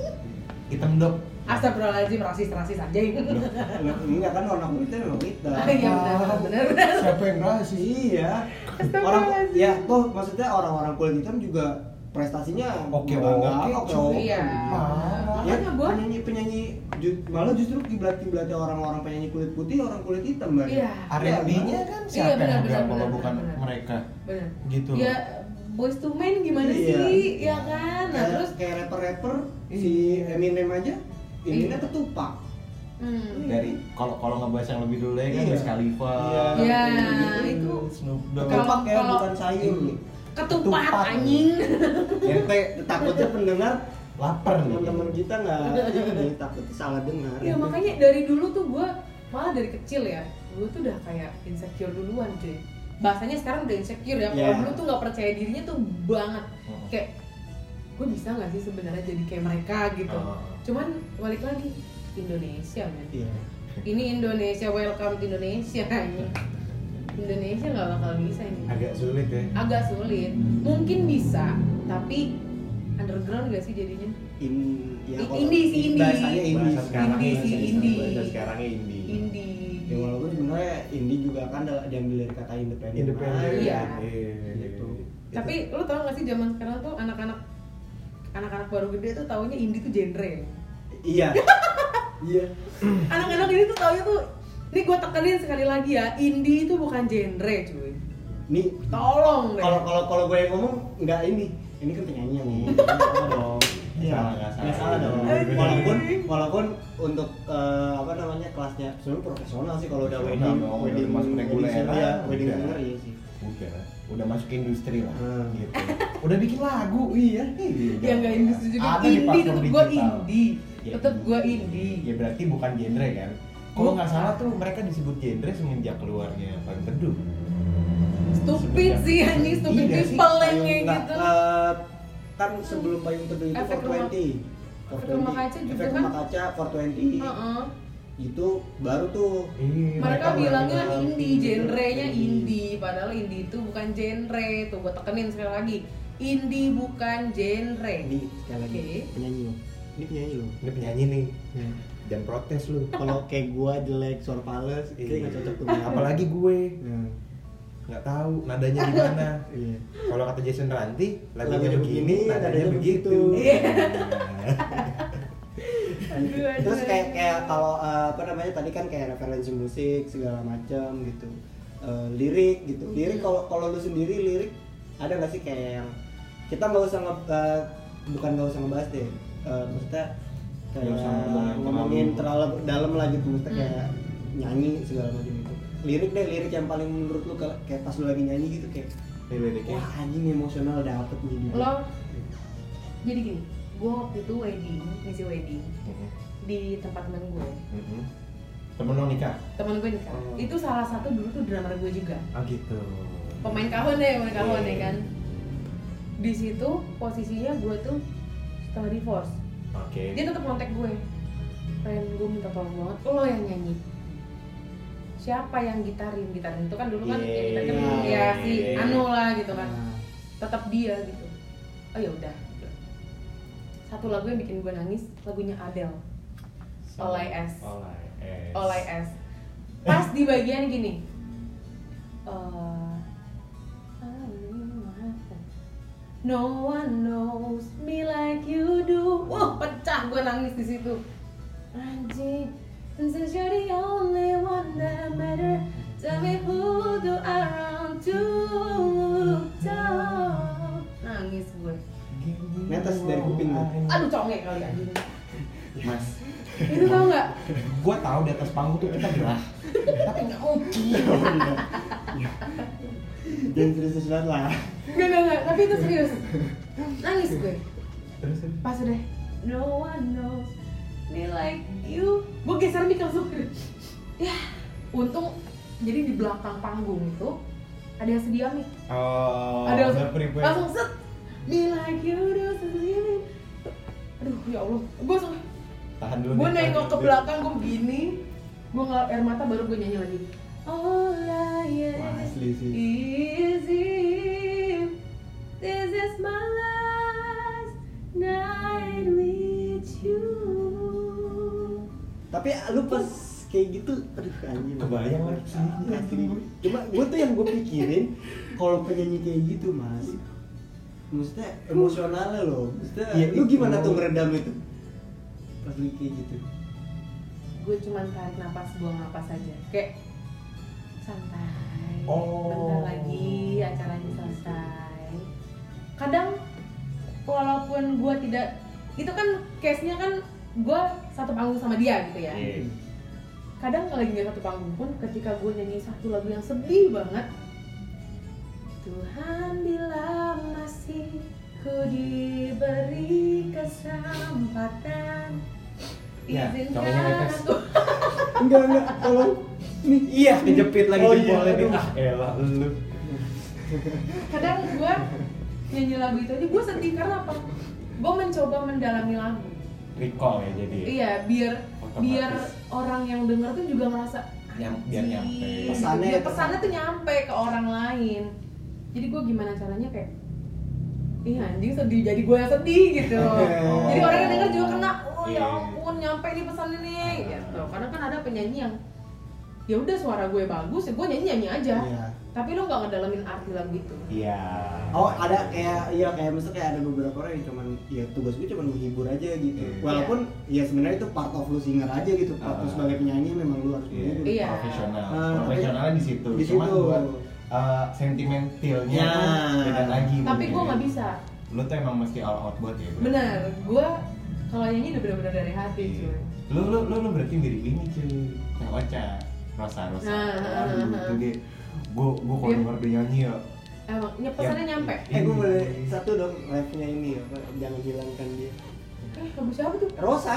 hitam dok
Astagfirullahaladzim, rasis rasis aja
Enggak, enggak kan warna kulitnya memang kita.
Iya benar benar benar.
siapa yang rasis
Iya. Orang
Astagfirullahaladzim.
ya toh maksudnya orang-orang kulit hitam juga prestasinya
Oke,
bangga,
oke,
oke.
Iya.
Parah.
Ya,
Makanya gue
penyanyi penyanyi ju- malah justru kiblat kiblatnya orang-orang penyanyi kulit putih orang kulit hitam banget.
Iya.
R&B-nya kan
Iya,
siapa yang
benar, benar,
enggak kalau
benar,
bukan
benar.
mereka
benar.
gitu
Ya
loh
boys to men gimana
Iya.
sih, ya kan? Nah
Kayak,
terus Iya.
kayak rapper-rapper si Eminem aja ininya ketupak.
hmm,
dari kalau kalau ngebahas yang lebih dulu ya kan
Iya.
Wiz Khalifa
Iya,
gitu.
itu.
Snoop Dogg
Ketupak ya
Kalau-
bukan sayur.
Iya.
ketupat
Ketupat.
anjing.
Ente takutnya pendengar
Iya. lapar nih
teman-teman kita nggak ini takutnya salah dengar.
Ya makanya dari dulu tuh gue malah dari kecil ya, gue tuh udah kayak insecure duluan cuy. Bahasanya sekarang udah insecure ya. Kalau
Iya. Hmm.
dulu tuh nggak percaya dirinya tuh banget.
Mm.
Kayak gue bisa nggak sih sebenarnya jadi kayak mereka gitu.
Hmm.
Ah.
Cuman balik lagi Indonesia men.
Iya.
Ini Indonesia welcome to Indonesia ini. Indonesia nggak bakal bisa ini.
agak sulit ya
agak sulit mungkin bisa tapi underground gak sih jadinya
in ya
I-
kalau
indie sih, indie.
bahasanya indie
bahasa sekarang ya,
Indie sih, indie.
bahasa sekarangnya indie.
indie
ya walaupun sebenarnya indie juga kan ada- diambil dari kata independen
Independen.
Ah,
Iya.
Iya.
Gitu.
tapi lu tau gak sih zaman sekarang tuh anak-anak anak-anak baru gede tuh taunya indie tuh genre
iya iya
anak-anak ini tuh taunya tuh ini gue tekenin sekali lagi ya indie itu bukan genre cuy
nih
tolong deh
Iya.
kalau kalau kalau gue yang ngomong nggak ini ini kan penyanyi yang ngomong
Nggak
Nggak salah dong
salah, Iya. nggak salah.
Nggak salah dong
Anjing.
walaupun walaupun untuk eh, apa namanya kelasnya sebenarnya profesional sih kalau udah
Profesional
wedding
dong,
wedding
udah masuk reguler.
wedding singer ya wedding
Udah.
singer iya sih
udah udah masuk industri lah
Hmm.
gitu udah bikin lagu iya gitu.
ya nggak industri juga
Ada di
indie
platform
tetep gue
digital.
indie
Ya,
tetep gue indie
ya berarti bukan genre kan kalau nggak salah tuh mereka disebut genre semenjak keluarnya Bang Teduh
stupid sih anjing stupid
Iya sih,
people yang kayak
Nggak,
gitu
eh, kan sebelum payung teduh itu
Efek rumah-
420
efek rumah kaca juga
efek
kan?
rumah kaca 420
Heeh.
itu baru tuh
Iya,
mereka bilangnya
bilang
indie genrenya
indie.
indie padahal indie itu bukan genre tuh gue tekenin sekali lagi indie bukan genre
ini sekali lagi
Oke.
penyanyi loh ini penyanyi loh
ini penyanyi nih dan protes lu
kalau kayak gua jelek suara pales kayak nggak cocok tuh
Iya. apalagi gue
Nah,
nggak tahu nadanya gimana
iya.
kalau kata Jason Ranti lagunya
Lagunya
begini
begini,
nadanya
nadanya
begitu
begitu.
Iya. aduh.
terus kayak kayak kalau eh, apa namanya tadi kan kayak referensi musik segala macam gitu Eh, lirik gitu
Iya.
lirik kalau kalau lu sendiri lirik ada nggak sih kayak yang kita nggak usah nge, eh, bukan nggak usah ngebahas deh Eh, maksudnya kayak
Nggak usah ngomongin
ngomongin
terlalu-
terlalu dalam lah gitu maksudnya
Hmm.
kayak nyanyi segala macam gitu lirik deh lirik yang paling menurut lu kayak kayak pas lu lagi nyanyi gitu kayak
Nih liriknya
wah anjing emosional dapet nih dia.
Iya.
Gitu.
lo jadi gini gue waktu itu wedding ngisi wedding
Mm-mm.
di tempat temen gue
Mm-mm. temen lo nikah
temen gue nikah
Oh.
itu salah satu dulu tuh drummer gue juga
ah gitu
pemain kahon deh pemain kahon
Iya.
ya kan di situ posisinya gue tuh setelah divorce
oke
dia tetap kontak gue Ren gue minta tolong banget lo yang nyanyi siapa yang gitarin gitarin itu kan dulu
Iya,
kan yang gitarin kan
Yeay.
ya si Anu lah gitu kan
Nah,
tetap dia gitu oh ya udah satu lagu yang bikin gue nangis lagunya Adele Olay S.
Olay S.
All I ask. Pas di bagian gini. eh, No one knows me like you do. Wah, pecah gue nangis di situ. Anjing, since you're the only one that matter, tell me who do I run to? Nangis gue.
Netes dari kuping lu.
Aduh, conge kali ya, anjing.
Mas,
Itu tau nggak?
gua tahu di atas panggung tuh kita gerah. Tapi nggak oke.
jangan serius banget lah
Gak, gak, gak. Tapi itu serius. Nangis gue.
Terus eh,
pas udah no one knows me like you gue geser mic langsung ya untung jadi di belakang panggung itu ada yang sedia mic
oh,
ada yang
udah prepare.
langsung set me like you do something aduh ya allah gue langsung
tahan dulu.
gue
nih, tahan
nengok ke
dulu.
belakang gue begini gue ngelap air mata baru gue nyanyi lagi oh yeah
Wah, asli sih.
easy this is my last night with you
tapi lu pas kayak gitu aduh anjing
Kebayang lagi sendiri,
asli cuma gue tuh yang gue pikirin kalau penyanyi kayak gitu mas maksudnya emosionalnya loh maksudnya
Iya,
lu
itu.
gimana tuh meredam itu pas lu kayak gitu
gue cuman tarik napas buang napas aja kayak santai
Oh.
bentar lagi acaranya selesai kadang walaupun gue tidak itu kan case nya kan gue satu panggung sama dia gitu ya
Iya.
kadang kalau lagi nggak satu panggung pun ketika gue nyanyi satu lagu yang sedih banget Tuhan bila masih ku diberi kesempatan
Ya,
izinkan
contohnya netes.
aku
enggak enggak kalau nih
Iya, kejepit lagi
Oh iya,
jempolnya nih.
aduh.
Ah, elah lu.
kadang gue nyanyi lagu itu aja gue sedih karena apa gue mencoba mendalami lagu
Recall ya jadi.
iya biar
Otomatis.
biar orang yang denger tuh juga merasa
Nyam- biar
"Anjing."
nyampe.
Iya.
Iya.
Pesannya-
Biar pesannya tuh nyampe ke orang lain jadi gue gimana caranya kayak ih anjing sedih jadi gue yang sedih gitu
Oh.
jadi orang yang denger juga kena oh ya
Iya.
ampun nyampe nih pesan ini gitu karena kan ada penyanyi yang ya udah suara gue bagus ya gue nyanyi nyanyi aja
Iya.
tapi lo nggak ngedalamin arti lagu itu
Iya.
Oh ada kayak iya kayak misalnya kayak ada beberapa orang yang cuman ya tugas gue cuman menghibur aja gitu.
Iya.
Walaupun ya sebenarnya itu part of lu singer aja gitu. Part lu
Ah.
sebagai penyanyi memang lu harus
Iya,
menghibur.
Iya.
profesional.
Ah,
Profesionalnya di situ.
Di
Cuma
situ.
buat uh, sentimentalnya
Ya.
tuh beda lagi.
tapi
mungkin. ya.
gue nggak bisa
Lu tuh emang mesti all out buat ya. Bro.
benar gue kalau nyanyi udah benar-benar dari hati
Iya.
cuy
Lu lu lu lu berarti mirip ini cuy. Kayak Ocha, Rosa Rosa.
Ah, ah,
Aduh,
ah,
itu
ah.
dia. Gue gue kalau
Dia-
denger dia nyanyi ya.
emang ya, pesannya
Ya.
nyampe
Eh gue boleh
Hmm.
satu dong live-nya ini ya, Pak. jangan hilangkan dia.
eh lagu siapa tuh
Rosa.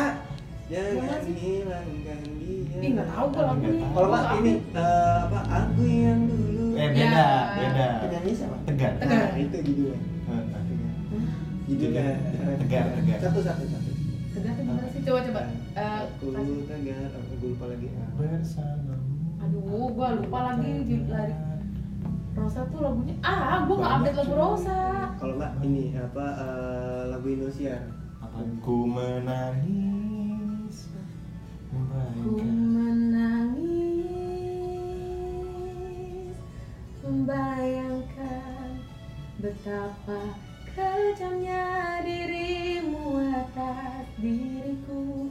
Jangan
Jangan.
hilangkan dia.
Ih, nggak tahu
Iya.
gue lagunya.
Nggak tahu.
Kalau nggak ini eh, apa aku yang dulu.
Eh beda,
Ya.
beda.
Penyanyi siapa?
Tegar. Eh,
Tegar.
Nah, itu judulnya.
Heeh.
Judulnya.
Tegar, tegar, tegar.
Satu satu satu.
tegar tuh gimana sih coba coba Eh,
aku
kasih.
tegar, aku gue lupa lagi. Ah.
Bersamamu.
aduh gue lupa lagi judul lari Rosa tuh lagunya ah gue nggak update lagu Rosa
Kalau nggak ini apa eh, lagu Indosiar.
Aku menangis
ku
membayangkan
menangis membayangkan betapa kejamnya dirimu atas diriku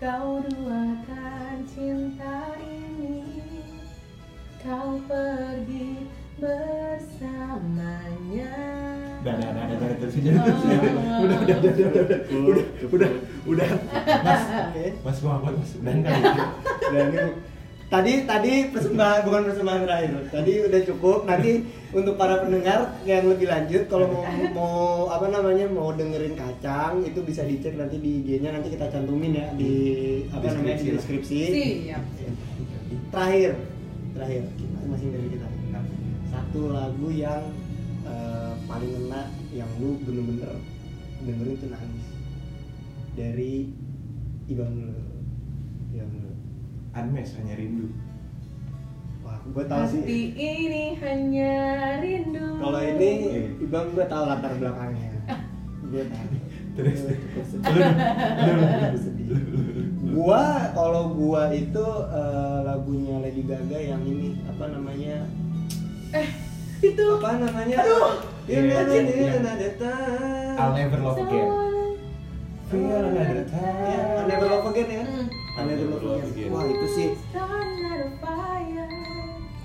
kau duakan cinta ini Kau pergi bersamanya.
Udah, udah, udah, udah, udah, terus aja,
Oh.
terus aja. Udah, udah, udah, udah, udah, udah, udah, udah. Mas,
Oke.
mas gua apa mas? Udah enggak gitu.
Dan ini- tadi tadi persembahan bukan persembahan terakhir. Tadi udah cukup. Nanti untuk para pendengar yang lebih lanjut kalau mau mau apa namanya mau dengerin kacang itu bisa dicek nanti di IG-nya nanti kita cantumin ya di apa namanya di
Deskripsi.
deskripsi.
Siap.
Terakhir, terakhir kita masing dari kita. Nah, Satu lagu yang eh, paling ngena yang lu bener-bener dengerin tuh nangis dari Ibang dulu. Ibang dulu.
Anmes hanya rindu.
Wah, gue tau
Hati
sih.
ini hanya rindu.
Kalau ini Ibang gue tahu latar belakangnya. Gue tahu.
Terus,
Gua cukup sedih.
Lu, lu, lu,
Cukup sedih. Gua kalau gua itu eh, lagunya Lady Gaga yang ini apa namanya?
Eh, itu.
Apa namanya?
Aduh!
You
Iya,
never
iya.
knew another time.
I'll never love again. Feel another
Ya,
Iya,
time.
I'll never love again ya.
Hmm.
I'll never love again. Wah, itu sih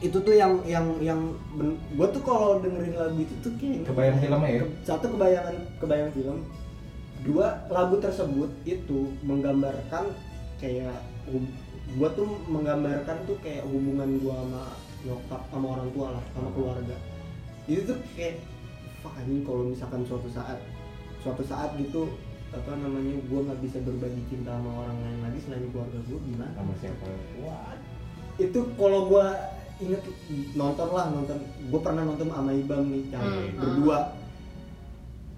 itu tuh yang yang yang ben- gua tuh kalau dengerin lagu itu tuh kayak
Kebayang filmnya ya?
Ke- satu kebayangan kebayang film dua lagu tersebut itu menggambarkan kayak hub- gua tuh menggambarkan tuh kayak hubungan gua sama nyokap sama orang tua lah sama
Hmm.
keluarga itu tuh kayak fuck anjing kalau misalkan suatu saat suatu saat gitu apa namanya gua nggak bisa berbagi cinta sama orang lain lagi selain keluarga gua gimana
Sama siapa?
itu kalau gua inget nonton lah nonton gue pernah nonton sama Ibam nih yang
Hmm,
berdua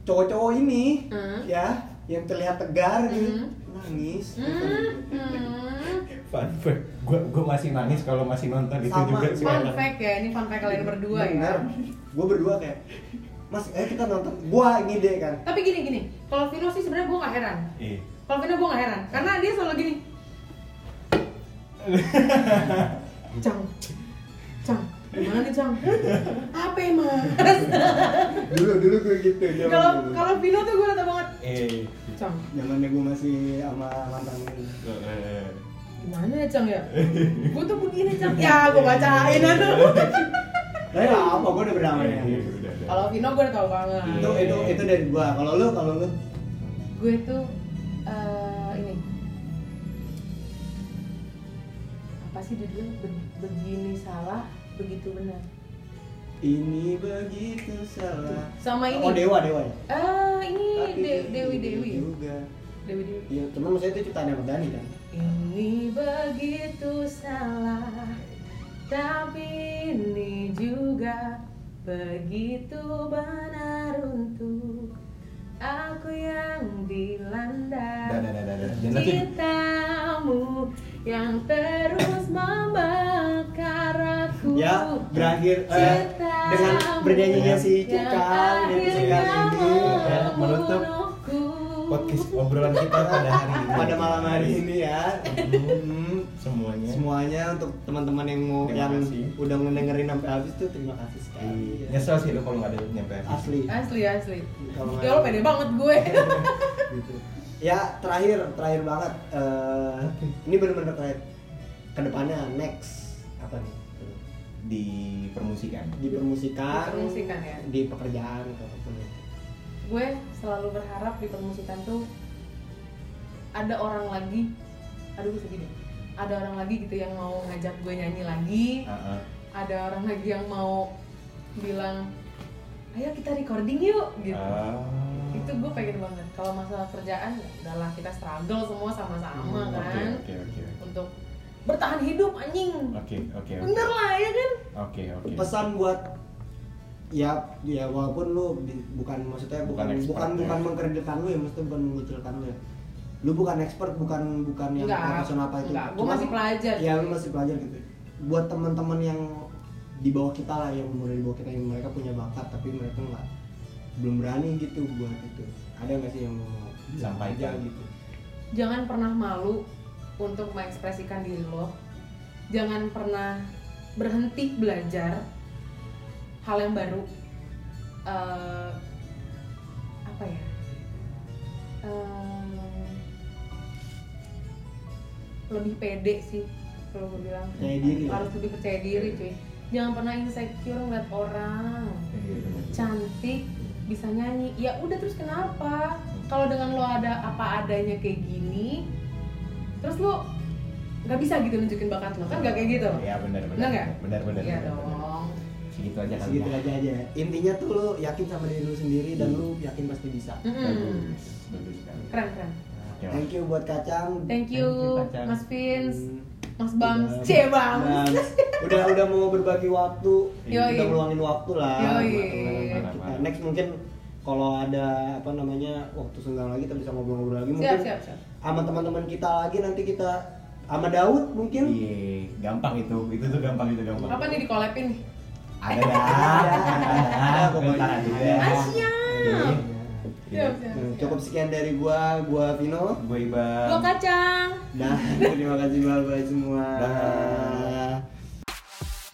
cowok-cowok ini
Hmm.
ya yang terlihat tegar gitu
Hmm.
nangis
Hmm, hmm.
Fun fact, gua gua masih nangis kalau masih nonton itu
Sama,
juga
Fun
sekarang.
fact ya, ini fun fact kalian berdua ya.
gue berdua kayak mas eh kita nonton gua ngide kan
Tapi gini gini, kalau Vino sih sebenarnya gue gak heran.
Iya.
Kalau Vino gue gak heran, karena dia selalu gini. Cang, Cang, gimana nih Cang? Apa emang?
dulu dulu gue gitu zaman
Kalau
dulu.
kalau Vino tuh gue rata banget.
Eh.
Cang,
zamannya gue masih sama mantan gue.
eh,
gimana ya Cang ya? Gue tuh begini Cang. Ya gue bacain aduh.
tapi nggak ya, apa gue udah berdamai ya?
Iya, iya, udah, udah.
Kalau Vino gue udah tau banget.
itu itu itu dari gua kalau lu kalau lu
Gue tuh eh, ini apa sih judulnya Be- begini salah begitu benar
ini begitu salah
sama ini
oh dewa dewa ya
Ah, ini
Tapi
De- Dewi
ini
Dewi.
juga
Dewi Dewi.
iya cuman maksudnya itu ciptaan Ahmad Dhani kan
Ini begitu salah, tapi ini juga begitu benar untuk aku
Dah, dah,
yang dilanda
dah, dah, dah. Jangan lagi.
cintamu yang terus membakar aku.
ya berakhir eh,
Cinta
dengan bernyanyinya si
Yang
Kikal dan si
akhirnya
Kikal ini
ya, menutup
membunuhku.
podcast obrolan kita pada hari ini
pada malam hari ini ya. Hmm,
semuanya
semuanya untuk teman-teman yang mau
Terima
yang
kasih.
udah ngedengerin sampai habis tuh terima kasih sekali.
Iya. nyesel sih lo kalau nggak ada nyampe habis.
Asli.
Asli asli.
Kalau nggak-
Ya lo pede banget gue.
gitu. Ya terakhir, terakhir banget. Eh, Ini bener-bener terakhir. Kedepannya next apa nih?
di permusikan
Di permusikan,
Di permusikan ya.
di pekerjaan atau apapun itu.
gue selalu berharap di permusikan tuh ada orang lagi. Aduh gue sedih deh. Ada orang lagi gitu yang mau ngajak gue nyanyi lagi.
Heeh.
Ada orang lagi yang mau bilang, ayo kita recording yuk gitu.
Ah.
itu gue pengen banget kalau masalah kerjaan ya udahlah kita struggle semua sama-sama
Hmm,
kan
oke oke oke
untuk bertahan hidup anjing
oke oke oke
bener lah ya kan
oke oke Iya,
Pesan buat ya ya walaupun lu bi- bukan maksudnya
Bukan
bukan
expert,
bukan
ya.
bukan mengkreditkan lu ya maksudnya bukan mengucilkan lu ya lu bukan expert bukan bukan yang
Enggak,
profesional apa itu
enggak. Gua
Cuman,
masih pelajar,
ya
cuy.
lu masih pelajar gitu buat teman-teman yang di bawah kita lah yang umur di bawah kita yang mereka punya bakat tapi mereka nggak belum berani gitu buat itu ada nggak sih yang mau
Sampaikan. Hmm.
aja gitu
jangan pernah malu untuk mengekspresikan diri lo jangan pernah berhenti belajar hal yang baru Eh, apa ya Eh, lebih pede sih kalau gue bilang
percaya diri ya? lah.
harus lebih percaya diri cuy jangan pernah insecure ngeliat orang
Iya, bener.
cantik bisa nyanyi ya udah terus kenapa kalau dengan lo ada apa adanya kayak gini terus lo nggak bisa gitu nunjukin bakat lo kan nggak kayak gitu
Iya benar
Bener
benar.
nggak?
Benar benar.
iya
benar, benar.
dong
Segitu aja kali.
segitu
ya.
Gitu aja aja intinya tuh lu yakin sama diri lu sendiri dan lu yakin pasti bisa
Mm-mm.
Bagus. Bagus sekali.
keren keren
Hmm. Ya.
thank you buat kacang
thank you,
Thank you, Pacar.
mas Vince
Hmm.
mas Bams
Udah-
cie Bams
Bams. udah udah mau berbagi waktu,
Yoi.
udah ngeluangin waktu lah.
Yoi.
Teman-teman kita. Next mungkin kalau ada apa namanya waktu senggang lagi kita bisa ngobrol-ngobrol lagi mungkin
siap siap siap
sama teman-teman kita lagi nanti kita sama Daud mungkin
Iya, gampang itu. Itu tuh gampang itu gampang.
kapan nih dikolepin nih
Ada dah. Ada
Ada,
dah.
pokoknya.
Bentar aja Iya. deh.
Asia
Oke.
siap siap
Nah,
siap.
cukup sekian dari gua, gua Vino
Gue Iba.
lo kacang
dan terima kasih bye bye semua.
Dah.